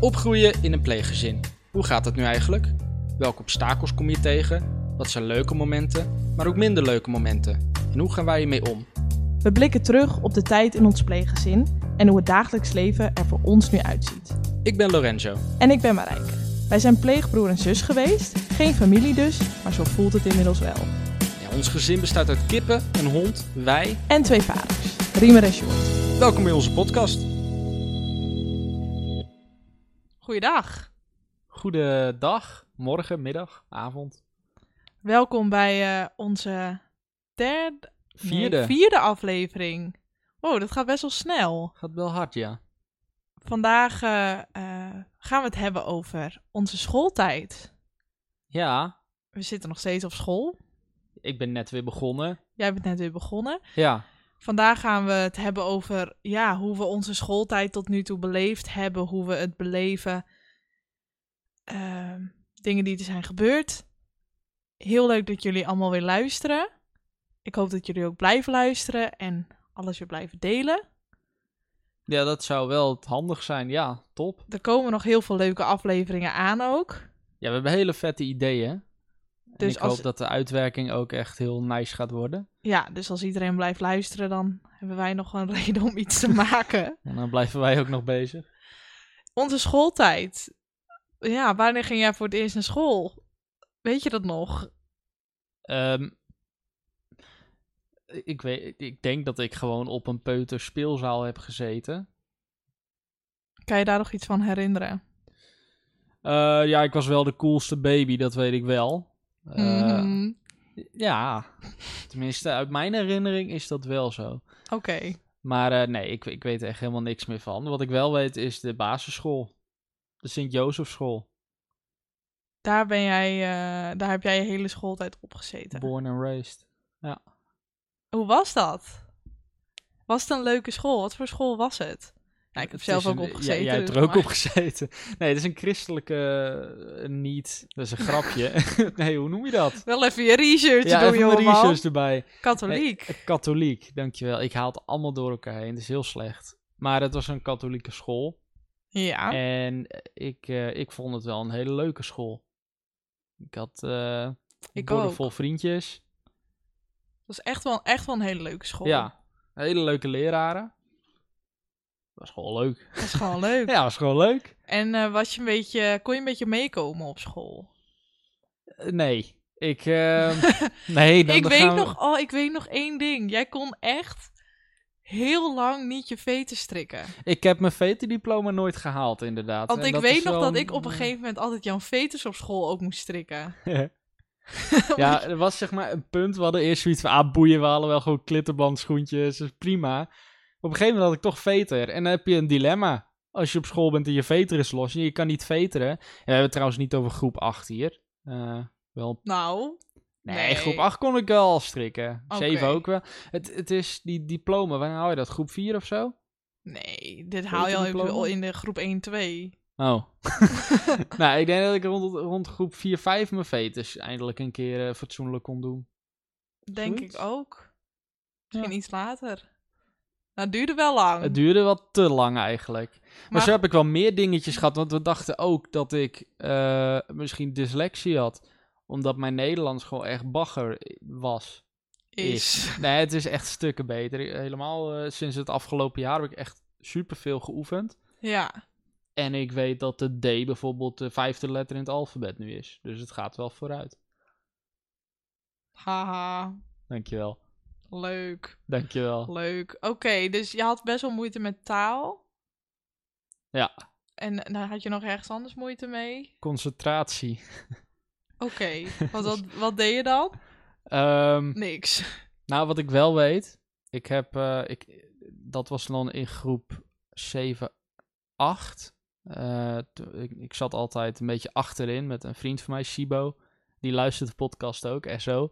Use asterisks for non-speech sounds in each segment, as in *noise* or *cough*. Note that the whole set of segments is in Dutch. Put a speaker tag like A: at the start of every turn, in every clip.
A: Opgroeien in een pleeggezin. Hoe gaat dat nu eigenlijk? Welke obstakels kom je tegen? Wat zijn leuke momenten, maar ook minder leuke momenten? En hoe gaan wij hiermee om?
B: We blikken terug op de tijd in ons pleeggezin en hoe het dagelijks leven er voor ons nu uitziet.
A: Ik ben Lorenzo.
B: En ik ben Marijke. Wij zijn pleegbroer en zus geweest, geen familie dus, maar zo voelt het inmiddels wel.
A: Ja, ons gezin bestaat uit kippen, een hond, wij.
B: En twee vaders, Riemer en Sjoerd.
A: Welkom bij onze podcast.
B: Goeiedag,
A: Goedendag, morgen, middag, avond.
B: welkom bij eh, onze derde, nee,
A: Vierde.
B: vierde aflevering. Wow, dat gaat best wel snel.
A: Gaat wel hard, ja.
B: Vandaag eh, eh, gaan we het hebben over onze schooltijd.
A: Ja,
B: We zitten nog steeds op school.
A: ik ben net weer begonnen.
B: Jij bent net weer begonnen.
A: Ja,
B: Vandaag gaan we het hebben over ja, hoe we onze schooltijd tot nu toe beleefd hebben, hoe we het beleven, ehm, dingen die er zijn gebeurd. Heel leuk dat jullie allemaal weer luisteren. Ik hoop dat jullie ook blijven luisteren en alles weer blijven delen.
A: ja dat zou wel handig zijn. Ja, top.
B: Er komen nog heel veel leuke afleveringen aan ook.
A: Ja, we hebben hele vette ideeën. Dus
B: Dus
A: ik
B: als-
A: hoop dat de uitwerking ook echt heel nice gaat worden.
B: Ja, dus als iedereen blijft luisteren, dan hebben wij nog een *laughs* reden om iets te maken.
A: En dan blijven wij ook nog bezig.
B: Onze schooltijd. Ja, wanneer ging jij voor het eerst naar school? Weet je dat nog?
A: Ehm, ik, weet, ik denk dat ik gewoon op een peuter speelzaal heb gezeten.
B: Kan je daar nog iets van herinneren?
A: Eh, ja, ik was wel de coolste baby, dat weet ik wel. Eh,
B: Mhm.
A: Ja, tenminste, uit mijn herinnering is dat wel zo.
B: Oké.
A: Maar eh, nee, ik, ik weet er echt helemaal niks meer van. Wat ik wel weet is de basisschool. De Sint-Jozefschool.
B: Daar, ben jij, eh, daar heb jij je hele schooltijd op gezeten.
A: Born and raised.
B: Hoe was dat? Was het een leuke school? Wat voor school was het? Nou, ik heb
A: Het
B: zelf
A: is
B: ook
A: een-
B: op gezeten.
A: Ja, jij hebt
B: dus
A: er ook
B: maar-
A: op gezeten. *laughs* Nee, het is een christelijke eh, niet. Dat is een grapje. *laughs* nee, hoe noem je dat?
B: *laughs* Wel even je research
A: Ja,
B: doen,
A: even mijn
B: joh, man.
A: research erbij.
B: Katholiek.
A: Eh, Katholiek, dankjewel. Ik haal het allemaal door elkaar heen. Het is heel slecht. Maar het was een katholieke school.
B: Ja.
A: En ik, eh, ik vond het wel een hele leuke school. Ik had eh
B: Ik
A: bordenvol vriendjes.
B: Dat was echt wel, echt wel een hele leuke school.
A: Ja, hele leuke leraren. Was gewoon leuk.
B: Dat is gewoon leuk.
A: *laughs* Ja, was gewoon leuk.
B: En eh, was je een beetje, kon je een beetje meekomen op school?
A: Eh, Nee, ik.
B: *laughs*
A: ehm, nee, dan
B: ik
A: dan
B: weet
A: gaan we-
B: nog, oh, ik weet nog één ding. Jij kon echt heel lang niet je veten strikken.
A: Ik heb mijn VT-diploma nooit gehaald, inderdaad.
B: Want
A: En
B: ik
A: dat
B: weet
A: is eh,
B: nog
A: wel
B: dat
A: een-
B: ik op een gegeven moment altijd Jan Veters op school ook moest
A: *laughs*
B: strikken. *laughs*
A: Ja, er was zeg maar een punt. We hadden eerst zoiets van, ah, boeien, we hadden wel gewoon klittenband schoentjes. Dat is prima. Op een gegeven moment had ik toch veter. En dan heb je een dilemma. Als je op school bent en je veter is los en je kan niet veteren. En we hebben het trouwens niet over groep 8 hier. Eh, wel
B: Nou,
A: Nee,
B: Nee.
A: groep 8 kon ik wel strikken.
B: Oké.
A: 7 ook wel. Het, het is die diploma, waar haal je dat? Groep 4 of zo?
B: nee, dit haal je al even
A: Veterdiploma?
B: al in de groep 1-2.
A: Oh. *laughs* nou, ik denk dat ik rond, rond groep 4, 5 mijn veters eindelijk een keer eh, fatsoenlijk kon doen.
B: Denk
A: Zoiets?
B: ik ook. Misschien
A: Ja.
B: iets later. Nou, het duurde wel lang.
A: Het duurde wel te lang eigenlijk. Maar,
B: Maar-
A: zo heb ik wel meer dingetjes gehad, want we dachten ook dat ik eh, misschien dyslexie had. Omdat mijn Nederlands gewoon echt bagger eh, was.
B: is.
A: Nee, het is echt stukken beter. Helemaal eh, sinds het afgelopen jaar heb ik echt superveel geoefend.
B: *laughs* Ja,
A: En ik weet dat de D bijvoorbeeld de vijfde letter in het alfabet nu is. Dus het gaat wel vooruit.
B: haha.
A: Dankjewel.
B: Leuk,
A: Dankjewel.
B: leuk. Oké, dus je had best wel moeite met taal.
A: Ja,
B: En nou, had je nog ergens anders moeite mee?
A: concentratie.
B: Oké,
A: *laughs*
B: wat, wat, wat deed je dan?
A: Ehm,
B: Niks.
A: nou, wat ik wel weet. Ik heb, eh, ik, dat was dan in groep 7, 8. Eh, to- ik, ik zat altijd een beetje achterin met een vriend van mij, Sibo. Die luistert de podcast ook, SO.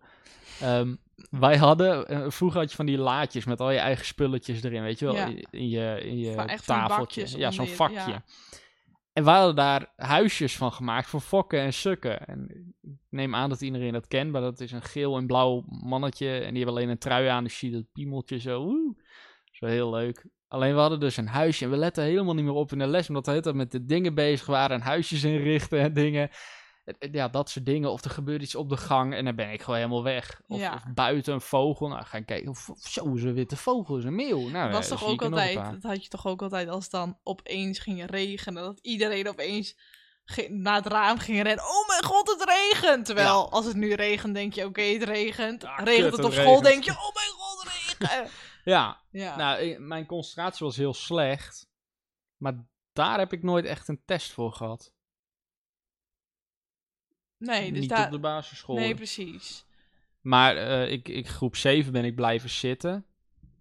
A: Ehm wij hadden, eh, vroeger had je van die laadjes met al je eigen spulletjes erin, weet je wel?
B: Ja.
A: In, in je, in je
B: Van- echt van die
A: tafeltje.
B: bakjes
A: ja,
B: om
A: zo'n
B: die-
A: vakje.
B: ja.
A: En wij hadden daar huisjes van gemaakt voor fokken en sukken. En ik neem aan dat iedereen dat kent, maar dat is een geel en blauw mannetje. En die hebben alleen een trui aan, dus je ziet dat piemeltje zo. Oeh, zo heel leuk. Alleen we hadden dus een huisje en we letten helemaal niet meer op in de les, omdat we de hele tijd met de dingen bezig waren en huisjes inrichten en dingen. Ja, dat soort dingen. Of er gebeurt iets op de gang en dan ben ik gewoon helemaal weg. Of,
B: Ja.
A: of buiten een vogel. Nou, gaan kijken. Of, of zo is een witte vogel, is een meeuw. Nou,
B: Dat
A: eh,
B: was
A: dan
B: toch
A: zie ik
B: ook
A: er nog een
B: altijd,
A: paar.
B: dat had je toch ook altijd als het dan opeens ging regenen. Dat iedereen opeens ge- naar het raam ging rennen. Oh mijn god, het regent! Terwijl als het nu regent, denk je, oké, het regent.
A: Ah,
B: regent
A: kut,
B: het op
A: het
B: school,
A: regent.
B: denk je, oh mijn god, regen!
A: *laughs* Ja,
B: ja.
A: Nou, ik- mijn concentratie was heel slecht. Maar daar heb ik nooit echt een test voor gehad.
B: nee, dus
A: Niet
B: daar...
A: op de basisschool.
B: Nee, precies.
A: maar eh, ik, ik, groep 7 ben ik blijven zitten.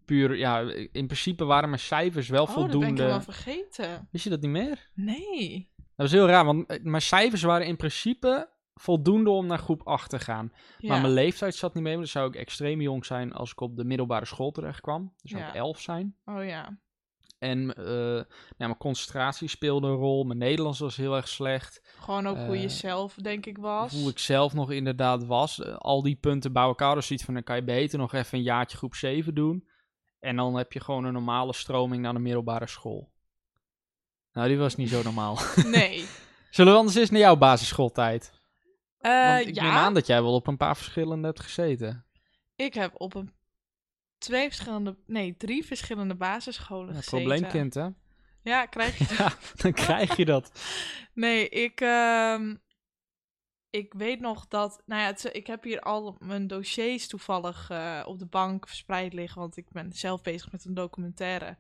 A: Puur, ja, in principe waren mijn cijfers wel
B: Oh, dat ben ik
A: voldoende.
B: helemaal vergeten.
A: Wist je dat niet meer?
B: Nee.
A: Dat was heel raar, want eh, mijn cijfers waren in principe voldoende om naar groep 8 te gaan.
B: Ja.
A: Maar mijn leeftijd zat niet mee, want dan zou ik extreem jong zijn als ik op de middelbare school terecht kwam. Dus zou
B: Ja.
A: ik 11 zijn.
B: Oh ja.
A: En eh, nou, mijn concentratie speelde een rol. Mijn Nederlands was heel erg slecht.
B: Gewoon ook hoe je
A: Eh,
B: zelf, denk ik, was.
A: Hoe ik zelf nog inderdaad was. Eh, al die punten bij elkaar. Dus iets van dan kan je beter nog even een jaartje groep 7 doen. En dan heb je gewoon een normale stroming naar de middelbare school. Nou, die was niet zo normaal.
B: *laughs*
A: *laughs*
B: Nee.
A: Zullen we anders eens naar jouw basisschooltijd?
B: Eh,
A: Want ik
B: ja,
A: neem aan dat jij wel op een paar verschillende hebt gezeten.
B: ik heb op een twee verschillende, nee, drie verschillende basisscholen
A: Ja,
B: gezeten.
A: probleemkind, hè? *laughs*
B: Ja, krijg je.
A: Ja, dan krijg je dat.
B: Nee, ik, ehm, ik weet nog dat, nou ja, het, ik heb hier al mijn dossiers toevallig eh, op de bank verspreid liggen, want ik ben zelf bezig met een documentaire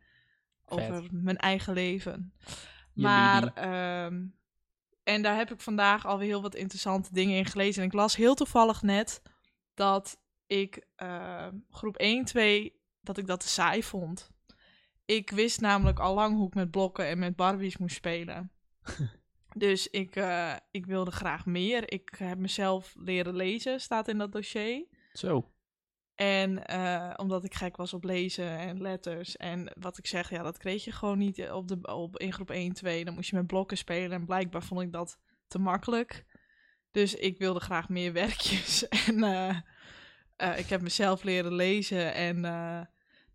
B: over mijn eigen leven.
A: Je
B: Maar,
A: liedie.
B: ehm, en daar heb ik vandaag alweer heel wat interessante dingen in gelezen. En ik las heel toevallig net dat ik ehm, groep 1, 2, dat ik dat te saai vond. Ik wist namelijk al lang hoe ik met blokken en met Barbies moest spelen. dus ik, eh, ik wilde graag meer. Ik heb mezelf leren lezen, staat in dat dossier.
A: Zo.
B: En eh, omdat ik gek was op lezen en letters. En wat ik zeg, ja, dat kreeg je gewoon niet eh, op de, op, in groep 1, 2. Dan moest je met blokken spelen. En blijkbaar vond ik dat te makkelijk. Dus ik wilde graag meer *laughs* werkjes. En eh, eh, ik heb mezelf leren lezen. En, eh,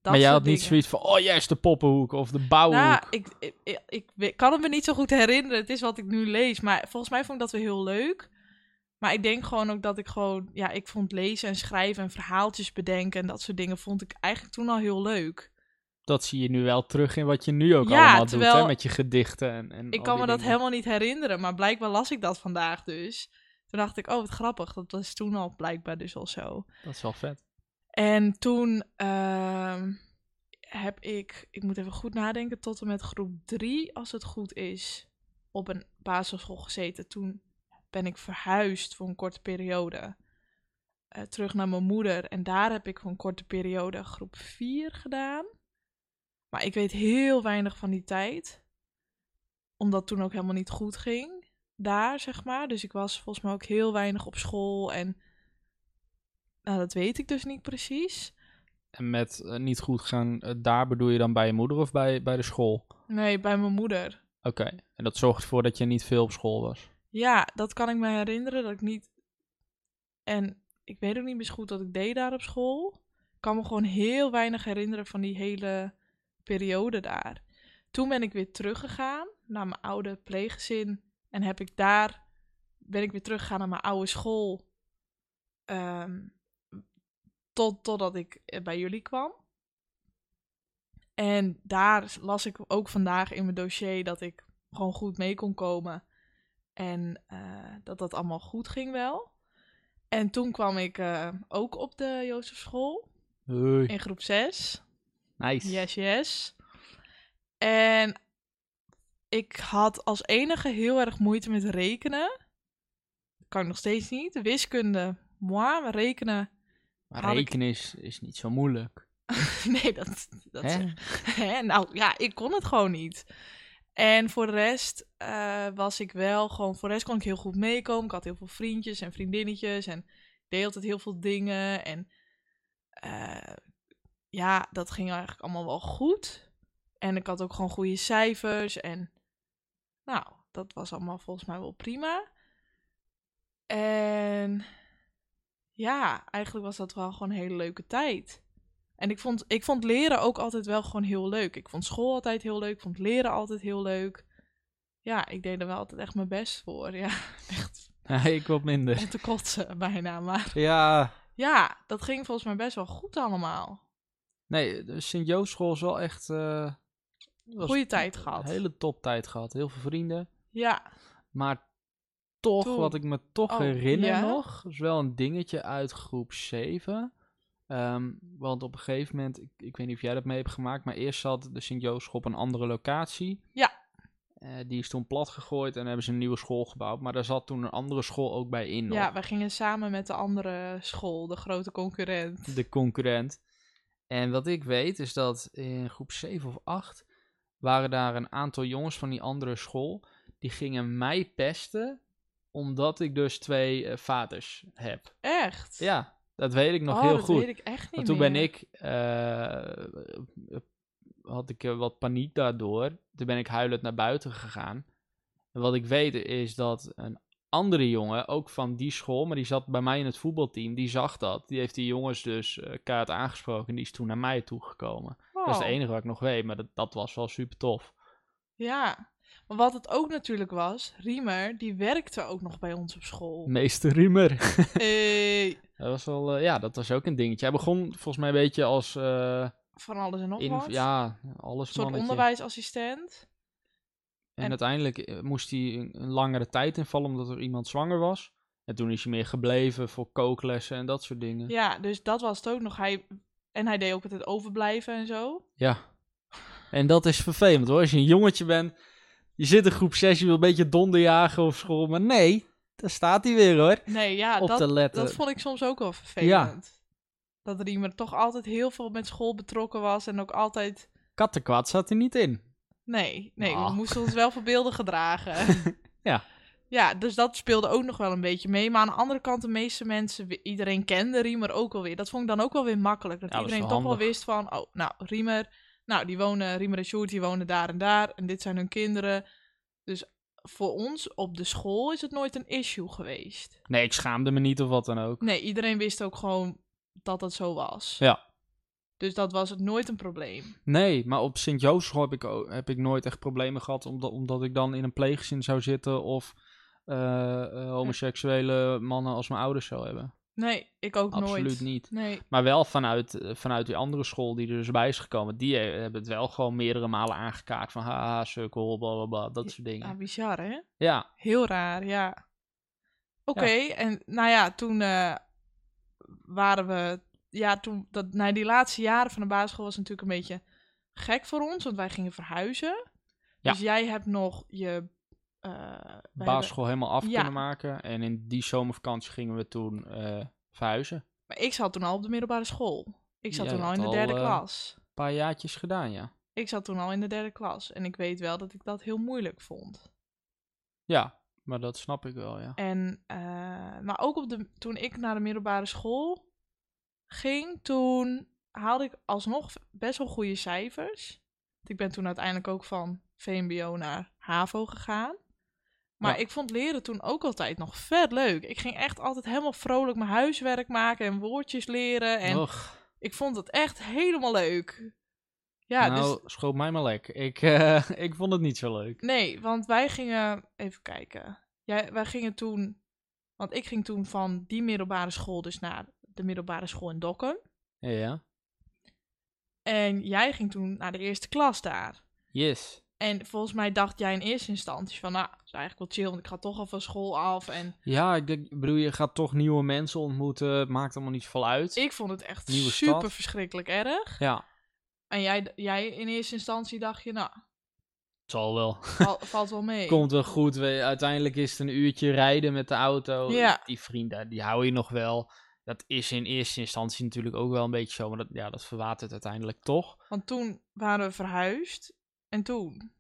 B: dat
A: maar jij
B: soort
A: had niet
B: dingen.
A: zoiets van, oh juist de poppenhoek of de bouwhoek.
B: Nou, ik, ik, ik, ik we- kan het me niet zo goed herinneren. Het is wat ik nu lees. Maar volgens mij vond ik dat wel heel leuk. Maar ik denk gewoon ook dat ik gewoon... Ja, ik vond lezen en schrijven en verhaaltjes bedenken... en dat soort dingen vond ik eigenlijk toen al heel leuk.
A: dat zie je nu wel terug in wat je nu ook
B: Ja,
A: allemaal doet,
B: terwijl-
A: hè, met je gedichten. En, en
B: Ik
A: al
B: kan me
A: die
B: dat
A: dingen.
B: helemaal niet herinneren. Maar blijkbaar las ik dat vandaag dus. Toen dacht ik, oh wat grappig. Dat was toen al blijkbaar dus al zo.
A: Dat is wel vet.
B: En toen ehm, heb ik, ik moet even goed nadenken, tot en met groep 3, als het goed is, op een basisschool gezeten. Toen ben ik verhuisd voor een korte periode. eh, terug naar mijn moeder. En daar heb ik voor een korte periode groep 4 gedaan. Maar ik weet heel weinig van die tijd. Omdat het toen ook helemaal niet goed ging. Daar, zeg maar. Dus ik was volgens mij ook heel weinig op school. En nou, dat weet ik dus niet precies.
A: En met eh, niet goed gaan, eh, daar bedoel je dan bij je moeder of bij, bij de school?
B: Nee, bij mijn moeder.
A: Oké, en dat zorgt ervoor dat je niet veel op school was.
B: Ja, dat kan ik me herinneren dat ik niet. En ik weet ook niet meer zo goed wat ik deed daar op school. Ik kan me gewoon heel weinig herinneren van die hele periode daar. Toen ben ik weer teruggegaan naar mijn oude pleeggezin. En heb ik daar ben ik weer teruggegaan naar mijn oude school. Ehm, tot, totdat ik eh, bij jullie kwam. En daar las ik ook vandaag in mijn dossier dat ik gewoon goed mee kon komen. En eh, dat dat allemaal goed ging wel. En toen kwam ik eh, ook op de Jozefschool
A: Hoi.
B: in groep 6.
A: Nice.
B: Yes, yes. En ik had als enige heel erg moeite met rekenen. Kan ik nog steeds niet. Wiskunde, moi, maar rekenen. *laughs*
A: Maar
B: Had ik-
A: rekenen is, is niet zo moeilijk.
B: Nee, dat, dat
A: Hè? *laughs*
B: zeg- *laughs* Hè? Nou ja, ik kon het gewoon niet. En voor de rest eh, was ik wel gewoon, voor de rest kon ik heel goed meekomen. Ik had heel veel vriendjes en vriendinnetjes en ik deed altijd heel veel dingen. En eh, ja, dat ging eigenlijk allemaal wel goed. En ik had ook gewoon goede cijfers en nou, dat was allemaal volgens mij wel prima. En ja, eigenlijk was dat wel gewoon een hele leuke tijd. En ik vond, ik vond leren ook altijd wel gewoon heel leuk. Ik vond school altijd heel leuk. Ik vond leren altijd heel leuk. Ja, ik deed er wel altijd echt mijn best voor. Ja, *laughs* echt
A: Nee, ik wat minder.
B: om te kotsen bijna. Maar
A: Ja.
B: ja, dat ging volgens mij best wel goed allemaal.
A: Nee, eh, de Sint-Jooschool is wel echt... eh, was
B: Goeie tijd gehad.
A: Een hele top tijd gehad. Heel veel vrienden.
B: Ja,
A: Maar toch,
B: Toen-
A: wat ik me toch
B: Oh,
A: herinner
B: ja?
A: nog, is wel een dingetje uit groep 7. Ehm, want op een gegeven moment, ik, ik weet niet of jij dat mee hebt gemaakt, maar eerst zat de Sint-Jooschool op een andere locatie.
B: Ja.
A: Eh, die is toen plat gegooid en hebben ze een nieuwe school gebouwd. Maar daar zat toen een andere school ook bij in. nog.
B: ja, wij gingen samen met de andere school, de grote concurrent.
A: *laughs* de concurrent. En wat ik weet is dat in groep 7 of 8 waren daar een aantal jongens van die andere school. Die gingen mij pesten omdat ik dus twee eh, vaders heb.
B: Echt?
A: Ja, dat weet ik nog
B: Oh,
A: heel
B: dat
A: goed.
B: weet ik echt niet
A: Want toen
B: meer.
A: ben ik, eh, had ik eh, wat paniek daardoor. Toen ben ik huilend naar buiten gegaan. En wat ik weet is dat een andere jongen, ook van die school, maar die zat bij mij in het voetbalteam, die zag dat. Die heeft die jongens dus eh, kaart aangesproken en die is toen naar mij toegekomen. Dat is
B: Wow.
A: het enige wat ik nog weet, maar dat, dat was wel super tof.
B: Ja. Maar wat het ook natuurlijk was, Riemer, die werkte ook nog bij ons op school.
A: Meester Riemer.
B: Eh,
A: Dat was wel, eh, ja, dat was ook een dingetje. Hij begon volgens mij een beetje als, eh,
B: van alles en nog
A: in,
B: wat.
A: ja,
B: Een
A: alles
B: soort
A: mannetje.
B: onderwijsassistent.
A: En,
B: En-
A: uiteindelijk eh, moest hij een, een langere tijd invallen omdat er iemand zwanger was. En toen is hij meer gebleven voor kooklessen en dat soort dingen. Ja.
B: Ja, dus dat was het ook nog. Hij, en hij deed ook altijd overblijven en zo.
A: En dat is vervelend hoor. Als je een jongetje bent, je zit in groep 6, je wil een beetje donderjagen op school. Maar nee, daar staat hij weer hoor.
B: Nee, ja,
A: op te
B: dat,
A: letten.
B: dat vond ik soms ook wel vervelend. Dat Riemer toch altijd heel veel met school betrokken was en ook altijd...
A: Kattenkwad zat hij niet in.
B: Nee, nee, we
A: Ah.
B: moesten ons wel verbeelden gedragen.
A: *laughs* Ja.
B: Ja, dus dat speelde ook nog wel een beetje mee. Maar aan de andere kant, de meeste mensen, iedereen kende Riemer ook alweer. Dat vond ik dan ook wel weer makkelijk. Dat
A: Ja, dat is
B: iedereen toch
A: wel
B: wel
A: handig.
B: wist van, oh, nou, Riemer, nou, die wonen, Riemer en Sjoerd, die wonen daar en daar. En dit zijn hun kinderen. Dus voor ons op de school is het nooit een issue geweest.
A: Nee, ik schaamde me niet of wat dan ook.
B: Nee, iedereen wist ook gewoon dat dat zo was.
A: Ja.
B: Dus dat was het nooit een probleem.
A: Nee, maar op sint Jozefschool heb ik, ook- heb ik nooit echt problemen gehad. Omdat, omdat ik dan in een pleegzin zou zitten of eh, eh, homoseksuele mannen als mijn ouders zou hebben.
B: Nee, ik ook nooit.
A: Absoluut niet.
B: Nee,
A: Maar wel vanuit, eh, vanuit die andere school die er dus bij is gekomen. Die eh, hebben het wel gewoon meerdere malen aangekaart. Van haha, sukkel, bla bla bla. Dat soort dingen.
B: ah, bizar hè?
A: Ja,
B: Heel raar, ja. Oké, en nou ja, toen eh, waren we... Ja, toen, dat, nou, die laatste jaren van de basisschool was natuurlijk een beetje gek voor ons, want wij gingen verhuizen.
A: Ja.
B: Dus jij hebt nog je... eh, we hebben-
A: basisschool helemaal af
B: Ja.
A: kunnen maken. En in die zomervakantie gingen we toen eh, verhuizen. Een
B: maar ik zat toen al op de middelbare school. Ik zat
A: Jij
B: toen al
A: had
B: in de
A: al,
B: derde
A: eh,
B: klas.
A: paar jaartjes gedaan, ja.
B: Ik zat toen al in de derde klas. En ik weet wel dat ik dat heel moeilijk vond.
A: Ja, maar dat snap ik wel, ja.
B: En, eh, maar ook op de, toen ik naar de middelbare school ging, toen haalde ik alsnog best wel goede cijfers. Want Ik ben toen uiteindelijk ook van VMBO naar HAVO gegaan. Maar
A: Ja.
B: ik vond leren toen ook altijd nog vet leuk. Ik ging echt altijd helemaal vrolijk mijn huiswerk maken en woordjes leren. En
A: Och,
B: ik vond het echt helemaal leuk. Ja, dus
A: nou, schoot mij maar lek. Ik, eh, *laughs* ik vond het niet zo leuk.
B: Nee, want wij gingen. Even kijken. Jij, wij gingen toen. Want ik ging toen van die middelbare school dus naar de middelbare school in Dokkum.
A: Ja.
B: En jij ging toen naar de eerste klas daar.
A: Yes.
B: En volgens mij dacht jij in eerste instantie van, nou, dat is eigenlijk wel chill, want ik ga toch al van school af. En
A: Ja, ik denk- bedoel, je gaat toch nieuwe mensen ontmoeten. Het maakt allemaal niet veel uit.
B: ik vond het echt
A: Nieuwe stad.
B: super verschrikkelijk erg.
A: Ja,
B: En jij, jij in eerste instantie dacht je, nou,
A: het zal wel. *laughs*
B: val- valt wel mee.
A: Komt wel goed. We, uiteindelijk is het een uurtje rijden met de auto.
B: Ja.
A: Die vrienden, die hou je nog wel. Dat is in eerste instantie natuurlijk ook wel een beetje zo. Maar dat, ja, dat verwatert uiteindelijk toch.
B: Want toen waren we verhuisd. En toen?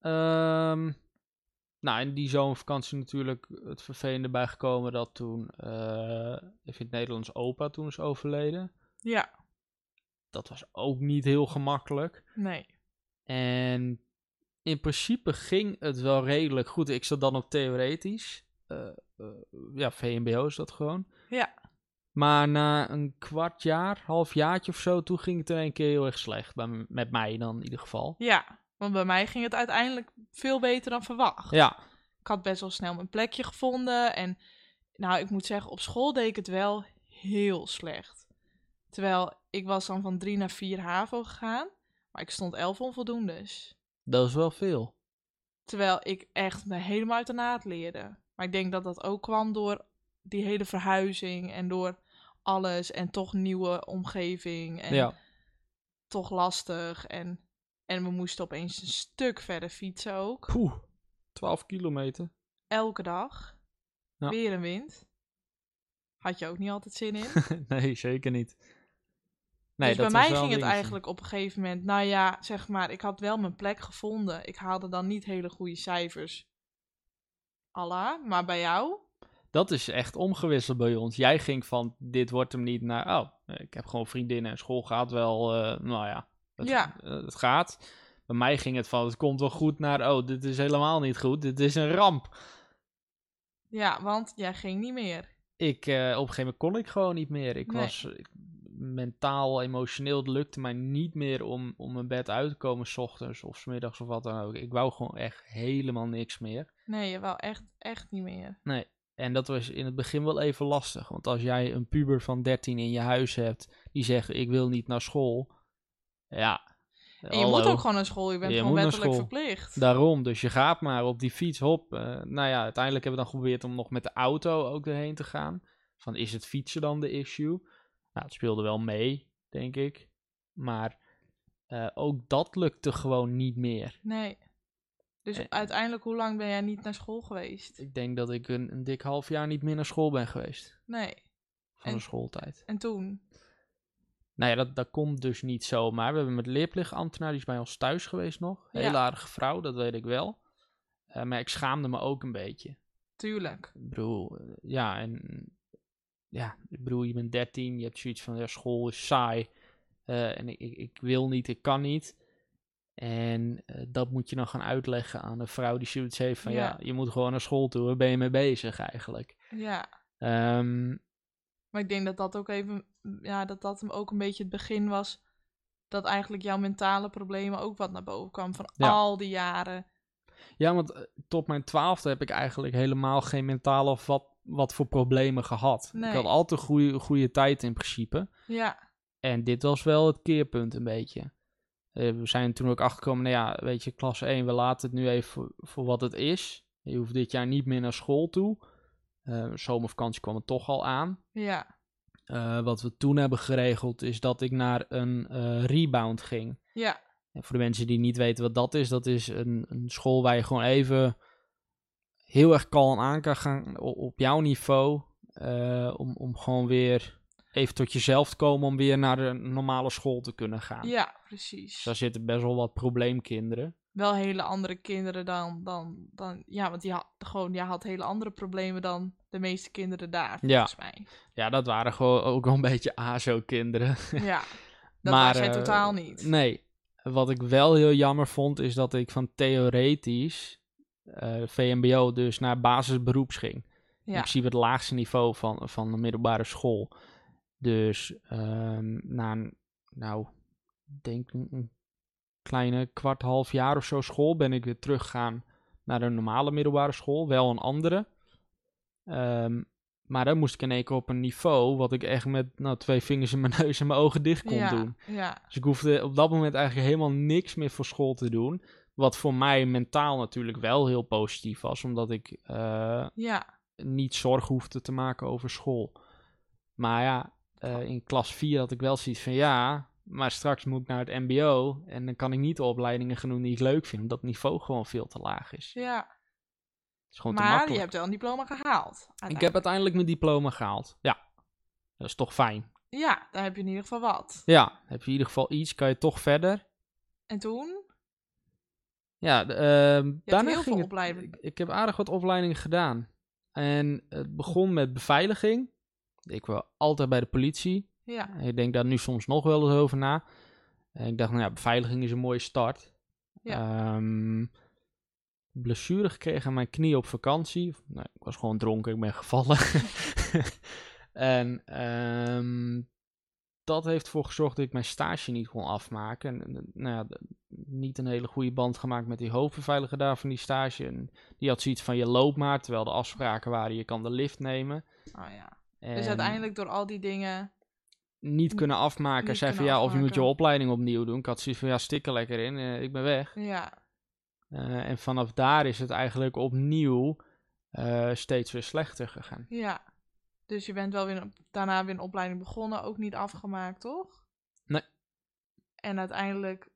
A: Ehm, nou, in die zomervakantie natuurlijk het vervelende bijgekomen dat toen... eh, even in het Nederlands opa toen is overleden.
B: Ja,
A: Dat was ook niet heel gemakkelijk.
B: nee.
A: En in principe ging het wel redelijk goed. Ik zat dan op theoretisch. Eh, eh, ja, VMBO is dat gewoon.
B: Ja.
A: Maar na een kwart jaar, half jaartje of zo, toen ging het in één keer heel erg slecht. Bij m- met mij dan in ieder geval.
B: Ja, want bij mij ging het uiteindelijk veel beter dan verwacht.
A: Ja,
B: Ik had best wel snel mijn plekje gevonden. En nou, ik moet zeggen, op school deed ik het wel heel slecht. Terwijl ik was dan van drie naar vier HAVO gegaan. Maar ik stond elf onvoldoendes.
A: dat is wel veel.
B: Terwijl ik echt me helemaal uit de naad leerde. Maar ik denk dat dat ook kwam door die hele verhuizing en door alles en toch nieuwe omgeving en
A: Ja,
B: toch lastig. En, en we moesten opeens een stuk verder fietsen ook.
A: poeh, 12 kilometer. *laughs*
B: Elke dag.
A: Ja.
B: Weer een wind. Had je ook niet altijd zin
A: *laughs*
B: in.
A: nee, zeker niet.
B: dus bij
A: was wel
B: mij ging
A: een
B: het
A: dingetje.
B: eigenlijk op een gegeven moment, nou ja, zeg maar, ik had wel mijn plek gevonden. Ik haalde dan niet hele goede cijfers. Allah, maar bij jou?
A: Dat is echt omgewisseld bij ons. Jij ging van, dit wordt hem niet, naar, oh, ik heb gewoon vriendinnen en school gaat wel, eh, nou ja, het,
B: Ja.
A: eh, het gaat. Bij mij ging het van, het komt wel goed, naar, oh, dit is helemaal niet goed, dit is een ramp.
B: Ja, want jij ging niet meer.
A: Ik, eh, op een gegeven moment kon ik gewoon niet meer. Ik
B: Nee.
A: was ik- mentaal, emotioneel, het lukte mij niet meer om, om mijn bed uit te komen, s ochtends of 's middags of wat dan ook. Ik wou gewoon echt helemaal niks meer.
B: Nee, je wou echt, echt niet meer.
A: En dat was in het begin wel even lastig. Want als jij een puber van 13 in je huis hebt die zegt: Ik wil niet naar school. Ja.
B: En je moet ook gewoon naar school, je bent
A: Je
B: gewoon
A: moet naar
B: wettelijk
A: school.
B: verplicht.
A: Daarom, dus je gaat maar op die fiets, hop. Eh, nou ja, uiteindelijk hebben we dan geprobeerd om nog met de auto ook erheen te gaan. Van is het fietsen dan de issue? Nou, het speelde wel mee, denk ik. Maar eh, ook dat lukte gewoon niet meer.
B: Nee. Dus
A: En-
B: uiteindelijk, hoe lang ben jij niet naar school geweest?
A: Eh. Ik denk dat ik een, een dik half jaar niet meer naar school ben geweest
B: Nee.
A: van
B: En-
A: de schooltijd.
B: En toen?
A: Nou ja, dat, dat komt dus niet zomaar. We hebben met leerplichtambtenaar, die is bij ons thuis geweest nog.
B: Ja.
A: Hele aardige vrouw, dat weet ik wel. Eh, maar ik schaamde me ook een beetje.
B: Tuurlijk.
A: Ik bedoel, eh, ja, en... Ja, ik bedoel, je bent 13, je hebt zoiets van, ja, school is saai. Eh, en ik, ik, ik wil niet, ik kan niet. En eh, dat moet je dan gaan uitleggen aan een vrouw die zoiets heeft van, ja,
B: Ja.
A: je moet gewoon naar school toe. Waar ben je mee bezig eigenlijk?
B: Ja.
A: Ehm,
B: Maar ik denk dat dat ook even, mm, ja, dat dat hem ook een beetje het begin was. Dat eigenlijk jouw mentale problemen ook wat naar boven kwam van
A: Ja.
B: al die jaren.
A: Ja, want eh, tot mijn twaalfde heb ik eigenlijk helemaal geen mentaal of wat, wat voor problemen gehad.
B: Nee.
A: Ik had altijd goede, goede tijd in principe.
B: Ja.
A: En dit was wel het keerpunt een beetje. Eh, we zijn toen ook achtergekomen, nou ja, weet je, klas 1, we laten het nu even voor, voor wat het is. Je hoeft dit jaar niet meer naar school toe. Eh, zomervakantie kwam er toch al aan.
B: Ja.
A: Eh, wat we toen hebben geregeld is dat ik naar een eh, rebound ging.
B: Ja.
A: En voor de mensen die niet weten wat dat is, dat is een, een school waar je gewoon even heel erg kalm aan kan gaan o- op jouw niveau. eh, om, om gewoon weer even tot jezelf te komen om weer naar een normale school te kunnen gaan.
B: Ja,
A: Dus
B: precies.
A: daar zitten best wel wat probleemkinderen.
B: wel hele andere kinderen dan, dan, dan ja, want die had gewoon, ja, had hele andere problemen dan de meeste kinderen daar, volgens
A: *laughs*
B: mij.
A: Ja, dat waren gewoon ook wel een beetje ASO-kinderen.
B: Ja, dat
A: Maar,
B: was hij
A: eh,
B: totaal niet.
A: Nee, wat ik wel heel jammer vond is dat ik van theoretisch eh, VMBO dus naar basisberoeps ging.
B: ja,
A: In principe het laagste niveau van, van de middelbare school. Dus ehm, na een, nou, ik denk een, een kleine kwart, half jaar of zo school ben ik weer teruggegaan naar een normale middelbare school. Wel een andere. Ehm, maar dan moest ik in één keer op een niveau wat ik echt met nou, twee vingers in mijn neus en mijn ogen dicht kon
B: ja,
A: doen.
B: Ja,
A: Dus ik hoefde op dat moment eigenlijk helemaal niks meer voor school te doen. Wat voor mij mentaal natuurlijk wel heel positief was, omdat ik eh,
B: ja,
A: niet zorgen hoefde te maken over school. Maar ja, eh, in klas 4 had ik wel zoiets van ja, maar straks moet ik naar het MBO en dan kan ik niet de opleidingen gaan doen die ik leuk vind, omdat het niveau gewoon veel te laag is.
B: ja.
A: Het is gewoon te
B: Maar je
A: makkelijk.
B: hebt wel een diploma gehaald.
A: Ik heb uiteindelijk mijn diploma gehaald. Ja, dat is toch fijn.
B: uiteindelijk. Ja, daar heb je in ieder geval wat.
A: Ja, heb je in ieder geval iets, kan je toch verder.
B: En toen?
A: Ja, d- ehm, daarna
B: heel
A: ging
B: veel
A: het-
B: opleidingen.
A: Ik, ik heb aardig wat opleidingen gedaan. En het begon met beveiliging. Ik wil altijd bij de politie.
B: Ja,
A: Eh, Ik denk daar nu soms nog wel eens over na. En ik dacht, nou ja, beveiliging is een mooie start. Ehm, Ja.
B: *laughs*
A: blessure gekregen aan mijn knie op vakantie. Nee, ik was gewoon dronken, ik ben gevallen. En ehm, dat heeft ervoor gezorgd dat ik mijn stage niet kon afmaken. En, en, nou ja, d- niet een hele goede band gemaakt met die hoofdbeveiliger daar van die stage. En die had zoiets van je loopt maar, terwijl de afspraken waren je kan de lift nemen.
B: Oh ja.
A: En
B: Dus uiteindelijk door al die dingen.
A: niet kunnen afmaken.
B: niet
A: Hij zei van
B: kunnen
A: ja, of je moet je
B: afmaken.
A: opleiding opnieuw doen. Ik had zoiets van ja, stik er lekker in, eh, ik ben weg.
B: Ja.
A: Eh, en vanaf daar is het eigenlijk opnieuw eh, steeds weer slechter gegaan.
B: Ja. Dus je bent wel weer een- daarna weer een opleiding begonnen, ook niet afgemaakt, toch?
A: Nee.
B: En uiteindelijk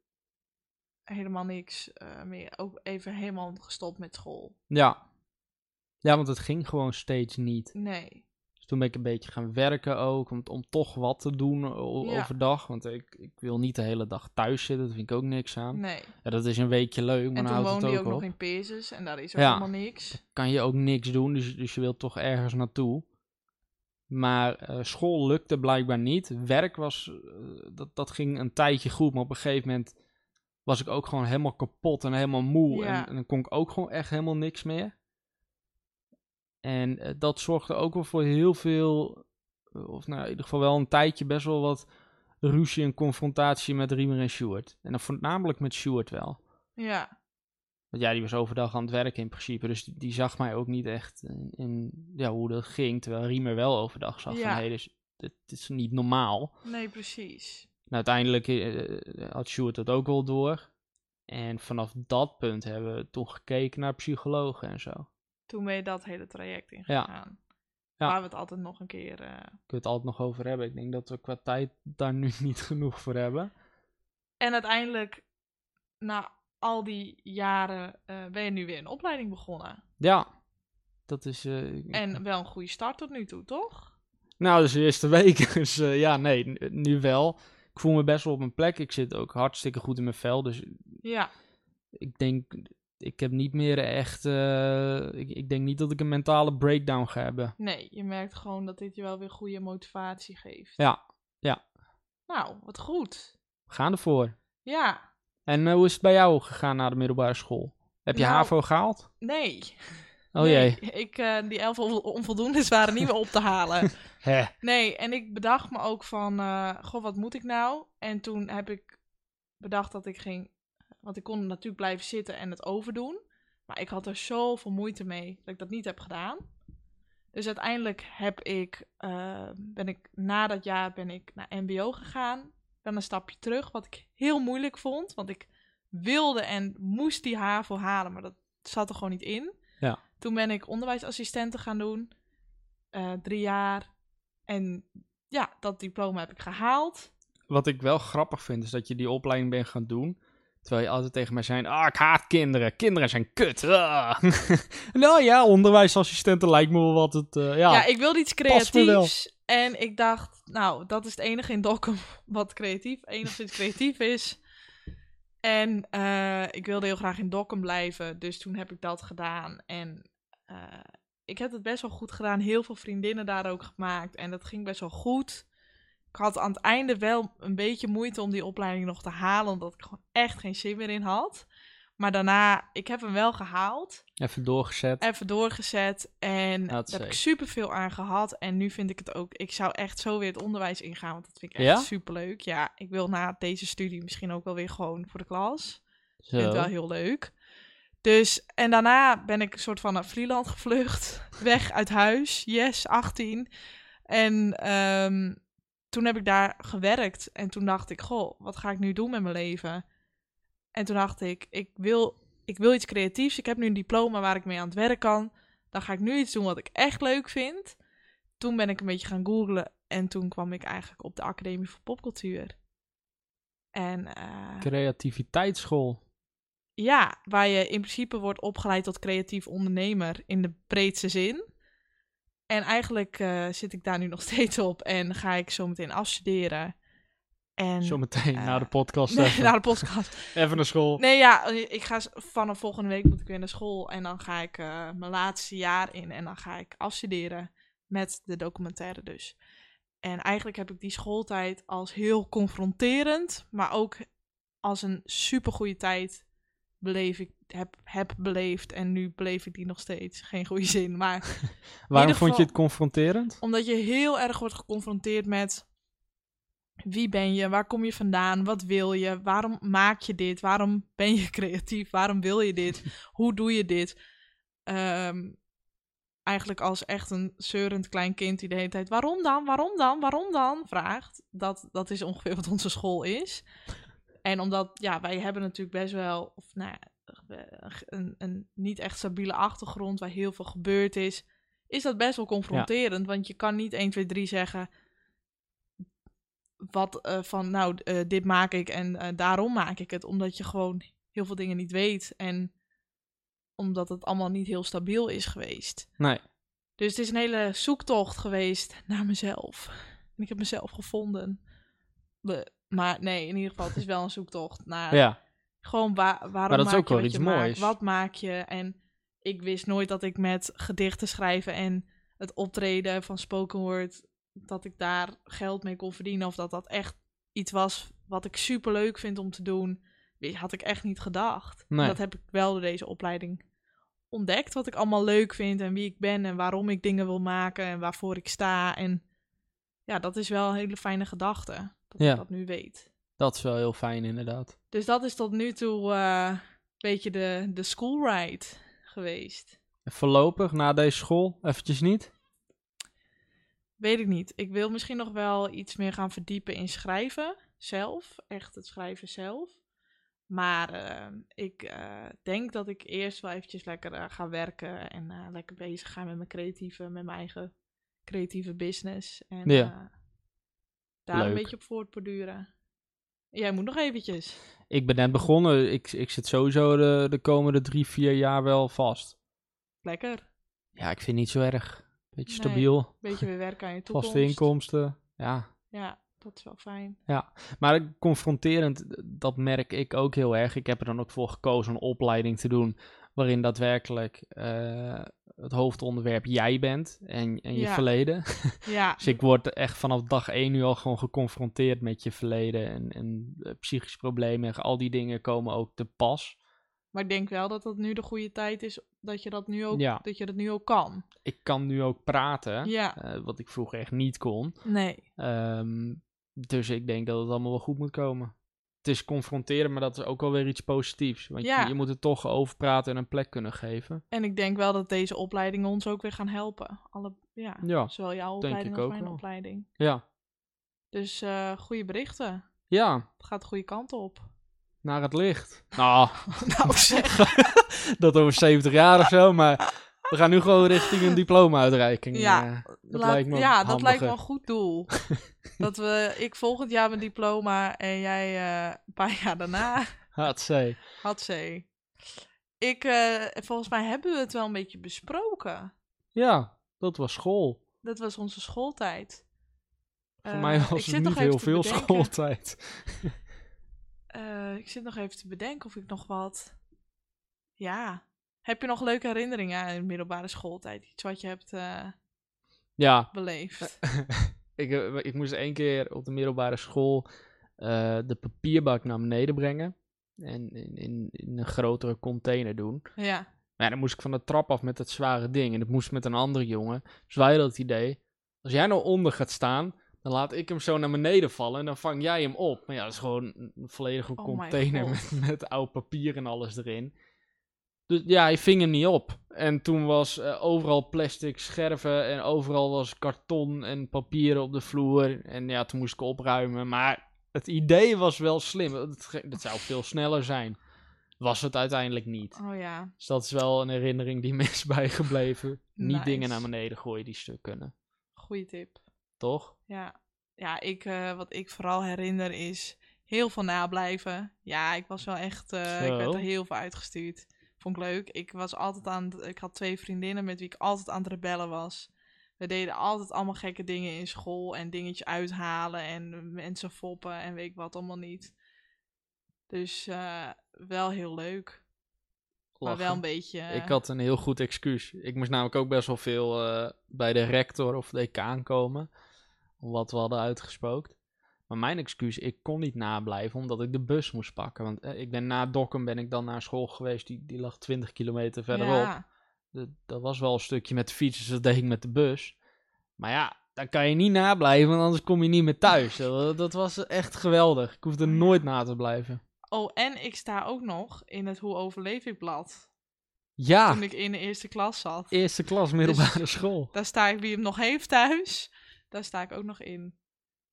B: helemaal niks eh, meer. Ook even helemaal gestopt met school.
A: Ja. Ja, want het ging gewoon steeds niet.
B: Nee.
A: Dus toen ben ik een beetje gaan werken ook, om, om toch wat te doen eh, o-
B: Ja.
A: overdag. Want ik, ik wil niet de hele dag thuis zitten, daar vind ik ook niks aan.
B: Nee.
A: Ja, dat is een weekje leuk, maar
B: En
A: dan
B: toen
A: houdt het
B: woonde
A: ook,
B: je ook
A: op.
B: nog in Peerses en daar is ook
A: Ja.
B: helemaal niks.
A: Kan je ook niks doen, dus, dus je wilt toch ergens naartoe. Maar eh, school lukte blijkbaar niet. Werk was, eh, dat, dat ging een tijdje goed, maar op een gegeven moment was ik ook gewoon helemaal kapot en helemaal moe.
B: Ja.
A: En, en dan kon ik ook gewoon echt helemaal niks meer. En eh, dat zorgde ook wel voor heel veel, eh, of nou in ieder geval wel een tijdje best wel wat ruzie en confrontatie met Riemer en Stuart. En dan voornamelijk met Stuart wel.
B: Ja.
A: Want ja, die was overdag aan het werken in principe. Dus die, die zag mij ook niet echt in, in, ja, hoe dat ging. Terwijl Riemer wel overdag zag
B: Ja.
A: van, hé, dus, dit, dit is niet normaal.
B: Nee, precies.
A: Nou, uiteindelijk eh, had Sjoerd dat ook wel door. En vanaf dat punt hebben we toen gekeken naar psychologen en zo.
B: Toen ben je dat hele traject
A: Ja.
B: ingegaan.
A: Ja.
B: Waar we het altijd nog een keer... eh,
A: Kun je het altijd nog over hebben. Ik denk dat we qua tijd daar nu *laughs* niet genoeg voor hebben.
B: En uiteindelijk, na al die jaren, eh, ben je nu weer een opleiding begonnen.
A: Ja, dat is... eh,
B: En wel een goede start tot nu toe, toch?
A: Nou, dus de eerste week. *laughs* Dus eh, ja, nee, n- nu wel. Ik voel me best wel op mijn plek. Ik zit ook hartstikke goed in mijn vel. Dus
B: Ja,
A: ik denk, ik heb niet meer echt. eh, ik, ik denk niet dat ik een mentale breakdown ga hebben.
B: nee, je merkt gewoon dat dit je wel weer goede motivatie geeft.
A: Ja, ja.
B: Nou, wat goed.
A: We gaan ervoor.
B: Ja,
A: En eh, hoe is het bij jou gegaan na de middelbare school? Heb je
B: Nou,
A: HAVO gehaald?
B: nee.
A: Oh
B: Nee,
A: jee.
B: Ik, eh, die elf on- onvoldoendes waren niet meer op te halen.
A: Hè. *laughs*
B: Nee, en ik bedacht me ook van, eh, goh, wat moet ik nou? En toen heb ik bedacht dat ik ging, want ik kon natuurlijk blijven zitten en het overdoen. Maar ik had er zoveel moeite mee dat ik dat niet heb gedaan. Dus uiteindelijk heb ik, eh, ben ik, na dat jaar ben ik naar mbo gegaan. Dan een stapje terug, wat ik heel moeilijk vond. Want ik wilde en moest die HAVO halen, maar dat zat er gewoon niet in.
A: Ja.
B: Toen ben ik onderwijsassistenten gaan doen. eh, drie jaar. En ja, dat diploma heb ik gehaald.
A: Wat ik wel grappig vind is dat je die opleiding bent gaan doen. Terwijl je altijd tegen mij zei: Ah, ik haat kinderen. Kinderen zijn kut. Ah. *laughs* nou ja, onderwijsassistenten lijkt me wel wat het. eh, ja.
B: Ja, ik wilde iets
A: past me wel.
B: creatiefs. En ik dacht, nou, dat is het enige in Dokkum *laughs* wat creatief, enigszins creatief is. En eh, ik wilde heel graag in Dokkum blijven, dus toen heb ik dat gedaan. En eh, ik heb het best wel goed gedaan, heel veel vriendinnen daar ook gemaakt. En dat ging best wel goed. Ik had aan het einde wel een beetje moeite om die opleiding nog te halen, omdat ik gewoon echt geen zin meer in had. Maar daarna, ik heb hem wel gehaald
A: Even doorgezet.
B: even doorgezet. En daar heb ik
A: zeker.
B: superveel aan gehad. En nu vind ik het ook... Ik zou echt zo weer het onderwijs ingaan. Want dat vind ik echt
A: Ja?
B: superleuk. Ja, ik wil na deze studie misschien ook wel weer gewoon voor de klas.
A: Zo.
B: Ik vind het wel heel leuk. Dus, en daarna ben ik een soort van naar Vlieland gevlucht. *laughs* Weg uit huis. Yes, 18. En ehm, toen heb ik daar gewerkt. En toen dacht ik, goh, wat ga ik nu doen met mijn leven? En toen dacht ik, ik wil, ik wil iets creatiefs. Ik heb nu een diploma waar ik mee aan het werk kan. Dan ga ik nu iets doen wat ik echt leuk vind. Toen ben ik een beetje gaan googlen. En toen kwam ik eigenlijk op de Academie voor Popcultuur. En eh,
A: Creativiteitsschool.
B: ja, waar je in principe wordt opgeleid tot creatief ondernemer in de breedste zin. En eigenlijk eh, zit ik daar nu nog *laughs* steeds op en ga ik zo meteen afstuderen. En *laughs*
A: Zometeen
B: eh,
A: na de podcast.
B: *laughs* Nee,
A: even.
B: naar de podcast.
A: Even naar school.
B: Nee, ja, ik ga s- vanaf volgende week moet ik weer naar school en dan ga ik eh, mijn laatste jaar in en dan ga ik afstuderen met de documentaire dus. En eigenlijk heb ik die schooltijd als heel confronterend, maar ook als een supergoeie tijd beleef ik, heb, heb beleefd en nu beleef ik die nog steeds. Geen goede zin, maar
A: Waarom
B: ieder
A: vond je
B: geval-
A: het confronterend?
B: Omdat je heel erg wordt geconfronteerd met wie ben je, waar kom je vandaan, wat wil je, waarom maak je dit, waarom ben je *laughs* creatief, waarom wil je dit, hoe doe je dit. Ehm, eigenlijk als echt een zeurend klein kind die de hele tijd waarom dan, waarom dan, waarom dan vraagt. Dat, dat is ongeveer wat onze school is. En omdat, ja, wij hebben natuurlijk best wel, of nou ja, een, een niet echt stabiele achtergrond waar heel veel gebeurd is, is dat best wel confronterend. Want je kan niet 1, 2, 3 zeggen wat eh, van, nou, eh, dit maak ik en eh, daarom maak ik het. Omdat je gewoon heel veel dingen niet weet en omdat het allemaal niet heel stabiel is geweest.
A: Nee.
B: Dus het is een hele zoektocht geweest naar mezelf. En ik heb mezelf gevonden. Bleh. Maar nee, in ieder geval, het is wel een zoektocht naar
A: Ja.
B: gewoon wa- waarom
A: dat is
B: maak
A: ook
B: je
A: wel
B: wat
A: iets
B: je maakt?
A: moois.
B: Wat maak je? En ik wist nooit dat ik met gedichten schrijven en het optreden van spoken word, dat ik daar geld mee kon verdienen. Of dat dat echt iets was wat ik super leuk vind om te doen. Weet je, Had ik echt niet gedacht.
A: Nee.
B: Dat heb ik wel door deze opleiding ontdekt. Wat ik allemaal leuk vind en wie ik ben en waarom ik dingen wil maken en waarvoor ik sta. En ja, dat is wel een hele fijne gedachte. Dat
A: Ja.
B: ik dat nu weet.
A: Dat is wel heel fijn, inderdaad.
B: Dus dat is tot nu toe eh, een beetje de, de school ride geweest.
A: En voorlopig, na deze school, eventjes niet?
B: Weet ik niet. Ik wil misschien nog wel iets meer gaan verdiepen in schrijven zelf. Echt het schrijven zelf. Maar eh, ik eh, denk dat ik eerst wel eventjes lekker eh, ga werken en eh, lekker bezig ga met mijn creatieve, met mijn eigen creatieve business. En
A: Ja.
B: eh, daar
A: Leuk.
B: een beetje op voortborduren. Jij moet nog eventjes.
A: Ik ben net begonnen. Ik, ik zit sowieso de, de komende drie, vier jaar wel vast.
B: Lekker.
A: Ja, ik vind het niet zo erg. Beetje
B: Nee.
A: stabiel.
B: Beetje weer werken aan je toekomst.
A: Vaste inkomsten. Ja,
B: Ja, dat is wel fijn.
A: Maar confronterend, dat merk ik ook heel erg. Ik heb er dan ook voor gekozen een opleiding te doen. waarin daadwerkelijk eh, het hoofdonderwerp jij bent en, en je
B: Ja.
A: verleden.
B: Ja,
A: Dus ik word echt vanaf dag één nu al gewoon geconfronteerd met je verleden. en, en eh, psychische problemen en al die dingen komen ook te pas.
B: Maar ik denk wel dat dat nu de goede tijd is dat je dat nu ook,
A: Ja.
B: dat je dat nu ook kan.
A: Ik kan nu ook praten,
B: Ja,
A: eh, wat ik vroeger echt niet kon.
B: nee.
A: Ehm, dus ik denk dat het allemaal wel goed moet komen. Het is confronteren, maar dat is ook wel weer iets positiefs. Want je-
B: Ja.
A: je, moet er toch over praten en een plek kunnen geven.
B: En ik denk wel dat deze opleidingen ons ook weer gaan helpen. Alle, ja,
A: Ja.
B: zowel jouw
A: denk
B: opleiding
A: ik
B: als
A: ook
B: mijn
A: wel.
B: opleiding.
A: Ja.
B: Dus eh goede berichten.
A: Ja,
B: Het gaat de goede kant op.
A: naar het licht. *laughs* Nou,
B: *laughs* nou zeg.
A: dat over 70 jaar of zo, maar we gaan nu gewoon richting een diploma-uitreiking.
B: Ja,
A: eh.
B: Dat
A: lijkt me
B: ja, dat lijkt me
A: handiger.
B: een goed
A: *laughs*
B: doel. dat we, ik volgend jaar mijn diploma en jij eh, een paar *laughs* jaar daarna.
A: Hatzee.
B: Had ze. Ik, eh, volgens mij hebben we het wel een beetje besproken.
A: Ja, dat was school.
B: Dat was onze schooltijd.
A: Voor
B: Eh,
A: mij
B: ik
A: was
B: zit
A: het
B: nog
A: niet
B: even
A: heel
B: te
A: veel
B: bedenken.
A: schooltijd.
B: Eh, ik zit nog even te bedenken of ik nog wat. Ja. Heb je nog leuke herinneringen aan de middelbare schooltijd? Iets wat je hebt eh,
A: Ja,
B: beleefd?
A: *laughs* ik, eh, ik moest één keer op de middelbare school eh, de papierbak naar beneden brengen. En in, in, in een grotere container doen.
B: ja.
A: Maar ja, dan moest ik van de trap af met dat zware ding. En dat moest met een andere jongen. Dus wij hadden het idee, als jij nou onder gaat staan, dan laat ik hem zo naar beneden vallen. En dan vang jij hem op. Maar ja, dat is gewoon een volledige
B: Oh my
A: container met,
B: God.
A: met oud papier en alles erin. Dus ja, hij ving hem niet op. En toen was eh, overal plastic scherven en overal was karton en papieren op de vloer. En ja, toen moest ik opruimen. Maar het idee was wel slim. Het, ge- het zou veel sneller zijn. Was het uiteindelijk niet.
B: Oh ja.
A: Dus dat is wel een herinnering die me is *laughs* bijgebleven. Niet
B: Nice.
A: dingen naar beneden gooien die stuk kunnen.
B: Goeie tip.
A: Toch?
B: Ja. Ja, ik, eh, wat ik vooral herinner is heel veel nablijven. Ja, ik was wel echt. eh, ik werd
A: Zo.
B: er heel veel uitgestuurd. Vond ik leuk. Ik was altijd aan. het- Ik had twee vriendinnen met wie ik altijd aan het rebellen was. We deden altijd allemaal gekke dingen in school en dingetjes uithalen en mensen foppen en weet ik wat allemaal niet. Dus eh, wel heel leuk. Maar wel
A: Lachen.
B: een beetje.
A: Ik had een heel goed excuus. Ik moest namelijk ook best wel veel eh, bij de rector of decaan komen. Om wat we hadden uitgespookt. Maar mijn excuus, ik kon niet nablijven omdat ik de bus moest pakken. Want eh, ik ben na Dokkum ben ik dan naar school geweest. Die, die lag 20 kilometer verderop.
B: Ja.
A: Dat, dat was wel een stukje met de fiets, dus dat deed ik met de bus. Maar ja, daar kan je niet nablijven, want anders kom je niet meer thuis. Dat, dat was echt geweldig. Ik hoefde
B: Ja.
A: nooit na te blijven.
B: Oh, en ik sta ook nog in het Hoe Overleef ik blad.
A: Ja,
B: Toen ik in de eerste klas zat.
A: eerste klas middelbare school.
B: Daar sta ik, wie hem nog heeft thuis, daar sta ik ook nog in.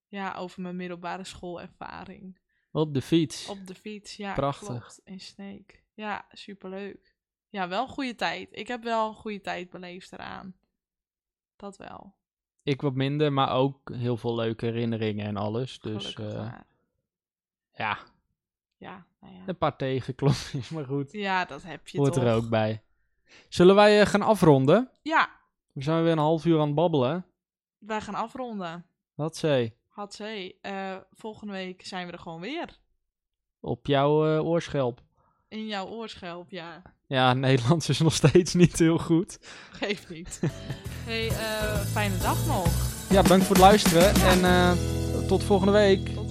B: Ja, over mijn middelbare schoolervaring.
A: Op de fiets.
B: Op de fiets, ja.
A: Prachtig.
B: klopt, in Sneek. Ja, superleuk. Ja, wel een goede tijd. Ik heb wel een goede tijd beleefd eraan. Dat wel.
A: Ik wat minder, maar ook heel veel leuke herinneringen en alles. Dus
B: Gelukkig
A: eh,
B: maar.
A: ja,
B: Ja, nou ja.
A: een paar tegenklopjes, *laughs* maar goed.
B: Ja, dat heb je
A: Hoort
B: toch.
A: er ook bij. Zullen wij eh, gaan afronden?
B: Ja,
A: We zijn weer een half uur aan het babbelen.
B: wij gaan afronden.
A: Wat zei?
B: Had ze. eh, volgende week zijn we er gewoon weer.
A: Op jouw eh, oorschelp.
B: In jouw oorschelp, ja.
A: Ja, *laughs* Nederlands is nog steeds niet heel goed. *laughs*
B: Geeft niet. hey, eh, fijne dag nog.
A: Ja, bedankt voor het luisteren en eh, tot volgende week.
B: Tot